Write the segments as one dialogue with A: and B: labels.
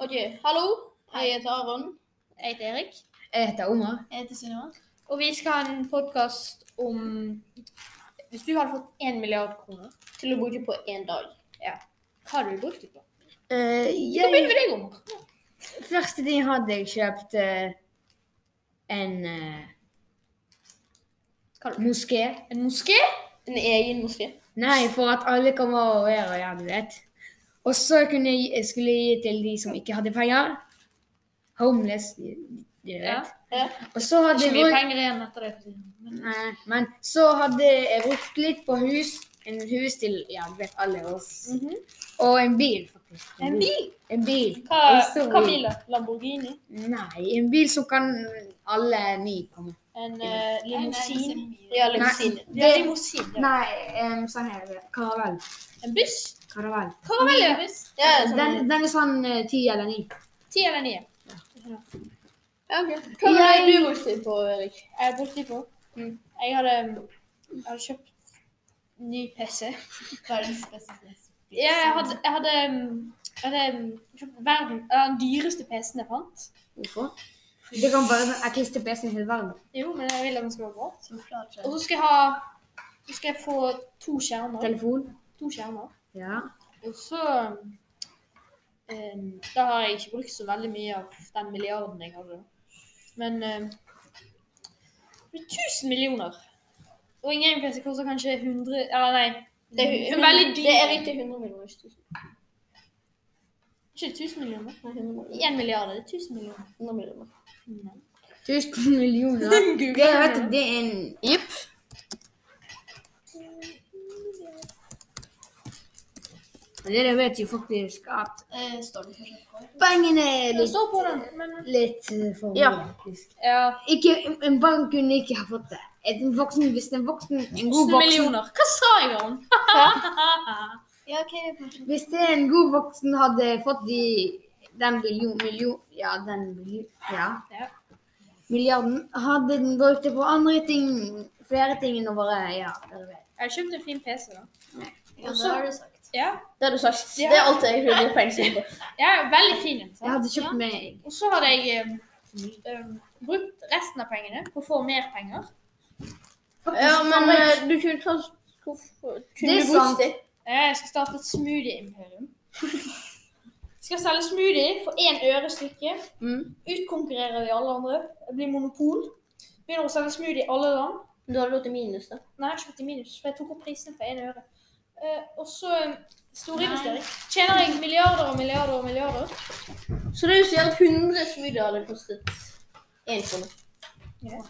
A: Ok, hallo.
B: Hei.
A: Jeg heter Aron.
B: Jeg heter Erik.
C: Jeg heter Omar.
D: Jeg heter Sunniva.
B: Og vi skal ha en podkast om Hvis du hadde fått én milliard kroner,
A: Til å bruke på én dag.
B: hva hadde du brukt det på? Vi kan
C: jeg,
B: begynne med deg, Omar.
C: Eh, første ting hadde jeg kjøpt eh, en eh,
B: Hva hadde du?
C: moské.
B: En moské?
A: En egen moské.
C: Nei, for at alle kan være og være gjerne det. Og så kunne jeg, jeg skulle jeg gi til de som ikke hadde penger. Homeless, de, de vet.
B: Ja.
A: Ja.
C: Og så hadde
B: Ikke
C: jeg
B: mye
C: brukt,
B: penger igjen etter det. for å si det sånn. Men
C: nei, men så hadde jeg brukt litt på hus. En hus til ja, du vet alle oss. Og en bil, faktisk.
A: Mm. Mhm. En bil?
C: En bil.
A: Hva,
C: En stor
A: hva bil? er? Lamborghini?
C: Nei, en bil som kan alle ni komme.
A: En eh,
D: Nei,
A: limousin?
D: nei, jeg
A: Ja, limousin.
C: Nei,
A: Ja,
C: det-
A: limousin. ja.
C: Nei, um, sånn her. Karavell.
B: En buss?
C: Karavell.
B: Hva var veldig buss?
A: Ja, sånn-
C: Den, den er sånn eh, ti eller ni.
B: Ti eller ni?
A: Ja, ok. Hva var det du brukte på, Erik?
B: Jeg brukte det på. Mm. Jeg hadde, um, jeg hadde kjøpt ny PC.
D: Verdens beste pris.
B: Ja, jeg hadde, jeg hadde, um, jeg hadde um, kjøpt verden, eller den dyreste PC-en jeg fant.
C: Hvorfor? Du kan bare sånn erkliste PC-en i hele verden.
B: Jo, men jeg vil at den skal være bra.
D: Som klart
B: Og så skal jeg ha Så skal jeg få to skjermer.
C: Telefon.
B: To skjermer.
C: Ja.
B: Og så um, Da har jeg ikke brukt så veldig mye av den milliarden jeg hadde. Men um, med 1000 millioner Og en gamepc koster kanskje 100 Eller nei,
A: Det er,
B: En veldig dyr.
A: det er riktig 100 millioner. ikke tusen.
B: ikke 1000 millioner.
A: Nei, 100 millioner.
B: 1 milliard det er 1000 millioner.
A: 100 millioner.
B: Nei.
C: 1000 millioner. Det, vet du, det er en Jepp. Dere vet jo faktisk at
D: Eh, står det kanskje på?
C: pengene er
B: Det
C: litt,
B: står på den, men
C: litt eh, for mye.
A: Ja.
C: faktisk.
B: Ja.
C: Ikke, en barn kunne ikke ha fått det. En voksen, hvis en voksen, en god
B: 1000
C: voksen
B: millioner. Hva sa jeg om?
D: Ja, ok. jeg får-
C: Hvis det er en god voksen hadde fått de, den million, million, ja, den million, ja,
B: Ja.
C: milliarden, hadde den brukt det på andre ting, flere ting enn å bare, ja, dere vet.
B: Jeg kjøpte en fin PC, da.
D: Ja, det har du sagt.
B: Ja,
A: Det har du sagt.
B: Ja.
A: Det er alt jeg bruker penger på.
B: ja veldig fin. en, sant?
C: Jeg hadde kjøpt
B: Ja.
C: meg,
B: Og så hadde jeg um, um, brukt resten av pengene på å få mer penger.
A: Ja, men eh, du kunne tatt Hvorfor kunne
C: er
A: du brukt
C: sant.
A: det?
B: Eh, Jeg skal starte et smoothie-imperium. Skal selge smoothie for én øre stykket.
C: eh,
A: Mm.
B: Utkonkurrere de alle andre. Jeg blir monopol. Begynner å selge smoothie i alle land.
A: Du hadde gått i minus, da.
B: Nei, jeg kjøpte i minus, for jeg tok opp prisen for én øre. Eh, og så um, storinvestering. Tjener jeg milliarder og milliarder og milliarder?
A: Så det er jo sånn at 100 smoothie hadde kostet 1 krone.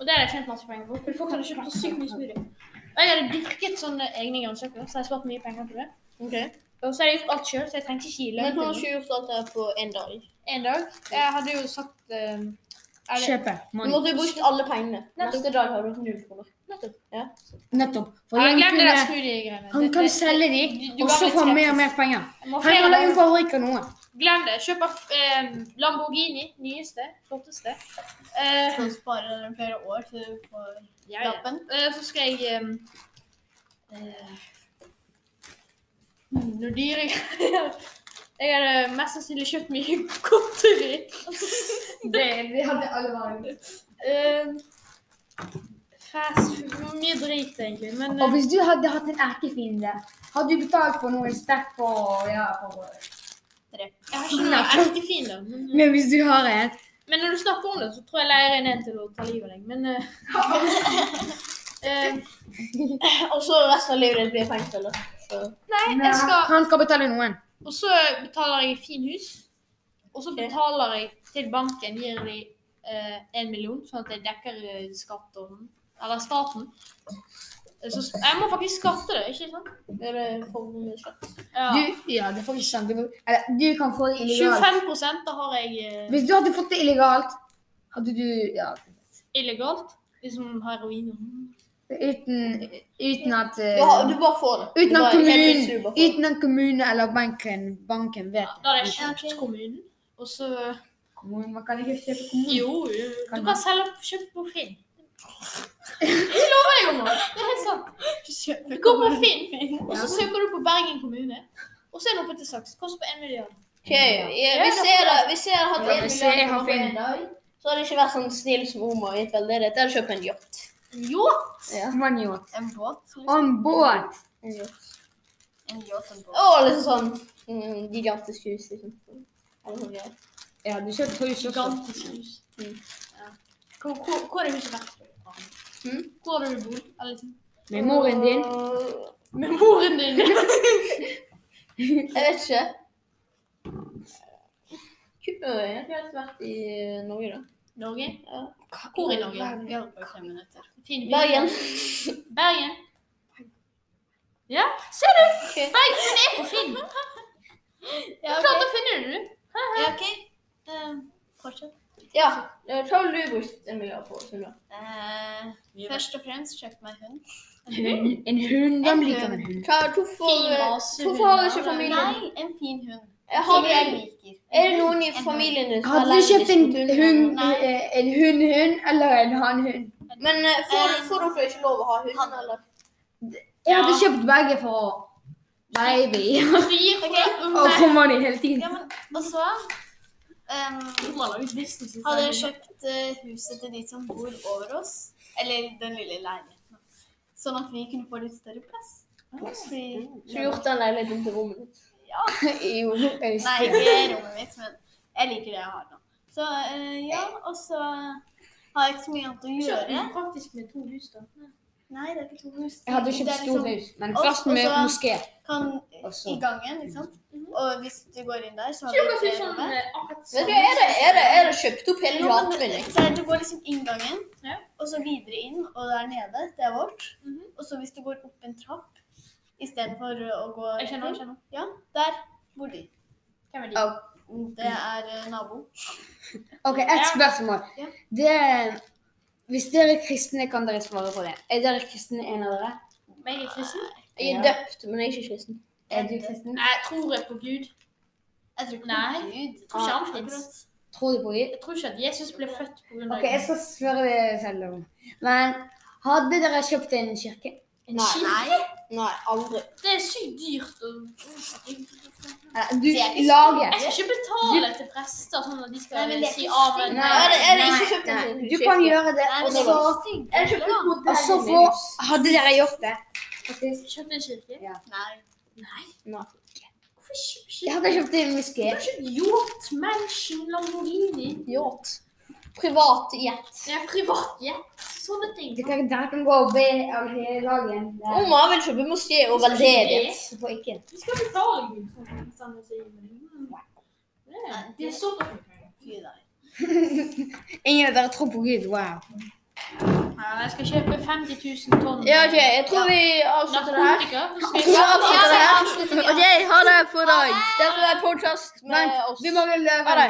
B: Og det hadde jeg tjent masse penger på. For folk hadde kjøpt så sykt mye smoothie. Og jeg hadde dyrket sånne egne grønnsaker, så jeg spart mye penger på det.
A: Okay.
B: Og så hadde jeg gjort alt sjøl, så jeg trengte ikke gi
A: Men
B: lønn.
A: jeg kunne
B: til
A: ikke gjort alt det her på én dag.
B: noen. En dag. Jeg hadde jo sagt eh, eller,
C: kjøpe,
A: Du
C: mann.
A: måtte jo brukt alle pengene. Neste dag har du hatt null kroner.
C: nettopp. For
B: Eller
C: han,
B: glem det der
C: kunne,
B: studiegreiene.
C: han
B: Det-
C: kan
B: det-
C: selge de,
B: Du- du
C: og
B: var
C: så
B: litt
C: få mer
B: skeptisk.
C: og mer penger.
B: Jeg må ha
C: Han
B: flere
C: holder jo
B: dager.
C: fabrikk av noe.
B: Glem det. Kjøp eh, Lamborghini. Nyeste. Flotteste. Eh,
D: Så sparer dere flere år til du får
B: ja, ja.
D: lappen.
B: Eh, så skal jeg eh, eh, hmm, Noe dyre greier. Jeg hadde mest sannsynlig kjøpt mye godteri.
C: Det, hadde alle vært.
B: Eh, fast food Mye drit, egentlig. Men
C: Og
B: eh,
C: hvis du hadde hatt en erkefiende, hadde du betalt for noe sterkt på, ja, på...
B: eh, jeg har ikke noe erkefiender. Men, eh,
C: Men hvis du har en,
B: men når du snakker om det, så tror jeg leier inn en til å ta livet av deg. Men eh, eh,
A: Og så resten av livet ditt blir fengsel. da. Så
B: Nei, jeg skal
C: han skal betale noen.
B: Og så betaler jeg i fin hus. Og så betaler jeg til banken, gir de eh, en million, sånn at jeg dekker eh, skatten. Eller staten. Eh, Så s- jeg må faktisk skatte det, ikke sant?
A: er det for mye skatt.
B: Ja.
C: Du, ja, det er faktisk sant. Du, må- eller, du kan få det illegalt.
B: 25 da har jeg eh,
C: Hvis du hadde fått det illegalt, hadde du ja,
B: illegalt. Liksom heroin.
C: uten, uten at eh,
A: Du, har, du bare får det. Du
C: Uten
A: bare-
C: at
A: helt plutselig du
C: kommunen,
A: bare får det.
C: uten at kommunen eller banken, banken vet
B: Da hadde jeg
D: Ja,
B: kjøpt kommunen. Og så
C: Kommunen, Man kan ikke kjøpe
B: Jo, jo, du
C: Kan
B: kan selge opp kjøpe på Finn. Jeg lover deg, Omar. Det er helt sant. Du går på Finn, og så søker du på Bergen kommune. Og så er det oppe til saks. Koster på 1 milliard.
A: Ok, jeg, hvis, jeg hadde, hvis jeg hadde hatt
C: Ja,
A: en
C: hvis
A: million
C: jeg har
A: kroner på en dag, så hadde jeg ikke vært sånn snill som Oma og gitt veldedighet. Jeg hadde kjøpt en yacht.
D: Yacht!
A: Ja.
C: Man yacht.
D: En båt? liksom.
C: On board.
A: En yacht.
D: En yacht, en båt.
A: Og liksom sånn mm, gigantisk hus, liksom. Eller sånn, ja.
C: Ja, du kjøpte hus også.
B: Gigantisk hus.
A: Mm.
B: Ja. Hvor, hvor, hvor er huset vært?
A: Mm?
B: Hvor har du bodd? Eller liksom?
C: Med moren din.
A: Og-
B: Med moren din!
A: Jeg vet ikke. Kunne jeg egentlig helst vært i eh, Norge, da.
B: Norge?
A: Ja.
B: Hvor i Norge?
D: Vi holder på i fem minutter.
B: Fin by.
A: Bergen.
B: Bergen. Ja, ser du!
A: Ok.
B: Bergen er på Finn.
D: Ja,
B: Du klarte å finne det, du.
D: Ja, ok.
B: Eh,
D: Ehm, fortsett.
A: Ja. eh, Hva ville du brukt en milliard på, Sunniva?
D: Eh, først og fremst kjøpt meg hund.
C: En hund. En hund. Hvem liker en hund?
A: Hva- Hvorfor
B: Fin
A: eh,
B: rase,
A: hvorfor har
B: hun,
A: ikke
B: ja.
A: familien
D: Nei, en fin hund.
A: Jeg eh, har-
D: Som jeg liker.
A: Er det noen i
D: En hund.
A: familien din som har
C: Hadde du
A: allergisk
C: kjøpt en
A: mot hunder?
C: hund,
D: Nei.
C: eh, en hund-hund eller en hannhund?
A: Men eh, får,
D: Eh,
A: får dere ikke lov å ha hund?
D: han-
A: Eller?
C: Jeg hadde
B: Ja.
C: kjøpt begge for å Baby.
B: Vi gir
D: Ok.
C: Og
B: fra
C: kommer de hele tiden.
D: Ja, men, og så ehm, hadde jeg kjøpt eh, huset til de som bor over oss. Eller den lille leiligheten. Sånn at vi kunne få litt større plass. Fordi-
A: Skulle gjort den leiligheten til rommet ditt.
C: Jo,
D: Nei, ikke rommet mitt, men jeg liker det jeg har nå. Så eh, ja, og så har jeg ikke så mye annet å gjøre.
B: Praktisk med to hus, da.
D: Nei, det er ikke to hus.
C: Jeg hadde kjøpt
D: Det er
C: stort
D: liksom-
C: hus, men
D: Og-
C: først
D: og
C: med
D: så-
C: moské.
D: Kan,
C: Og så-
D: I gangen, ikke sant. Og hvis du går inn der, så har
B: Kjøper
D: du
B: til
D: tre
B: Mhm. sånn
D: rommet.
B: eh, akkurat
A: Vet
B: sånn.
A: du, er det, er det, er det kjøpt opp hele
D: Jo,
A: gaten
D: men
A: min? jeg?
D: så er det- Du går liksom inngangen,
B: Ja.
D: og så videre inn, og der nede. Det er vårt.
B: Mhm.
D: Og så hvis du går opp en trapp istedenfor å gå
B: Jeg skjønner, jeg skjønner.
D: Ja, der bor de.
B: Hvem er de?
A: Ja.
D: Det er eh, nabo.
C: Ok, ett
B: Ja.
C: spørsmål.
D: Ja.
C: Det Hvis dere er kristne, kan dere svare på det. Er dere kristne, en av dere?
B: Meg er kristen.
A: Jeg er
C: Ja.
A: døpt, men jeg er ikke kristen.
C: Er du kristen?
B: Jeg tror jeg på Gud.
D: Jeg tror ikke
B: Nei.
D: på Gud.
B: Tror ikke han
D: Ja,
B: finnes.
D: akkurat.
C: Tror du på Gud?
B: Jeg tror ikke at Jesus ble født på grunn av
C: Ok, jeg skal spørre det selv om. Men hadde dere kjøpt en kirke?
B: en
A: Nei.
B: kirke.
A: Nei, aldri.
B: Det er sykt dyrt. Og...
C: Eh, Du
D: Det er ikke-
C: lager.
B: Jeg skal ikke betale til prester sånn at de skal
D: Nei, men det er
B: si
D: ikke
B: amen.
D: sykt.
A: Nei, er det, er det ikke
C: nei,
A: kjøpt
C: nei.
A: en
C: Du kan gjøre Altså, det,
D: Nei,
C: og
D: men det
C: så
D: var stygg.
A: Jeg kjøpte et
C: Og så
A: moderne
C: får
A: hus.
C: Hadde dere gjort det? Faktisk.
B: Kjøpte en kirke?
D: Nei.
B: Nei.
A: Nei.
B: Hvorfor kjøpte
C: Jeg hadde kjøpt en moské.
B: Hvorfor kjøpte yacht, mansion, Lamborghini?
A: Yacht. Privat jet.
B: Det er privatjet. Sånne ting.
C: Dere, dere kan gå og be av hele dagen. Det er-
A: Oma vil kjøpe moské og
B: Sånn
A: veldedighet.
C: Så får ikke.
B: Vi skal betale Gud for å bestemme seg i himmelen. Det er- Det er så bra.
D: Gud, nei.
C: Ingen av dere tror på Gud. Wow.
B: Ja, Jeg skal kjøpe 50 000 tonn
A: Ja, OK, jeg tror vi avslutter det her.
B: narkotika. Så
A: Jeg
B: skal
A: tror vi
B: jeg-
A: avslutter det her. OK, ha det for i dag. Dette er podkast med
C: Vent,
A: oss.
C: vi må vel eh,
A: Ha det.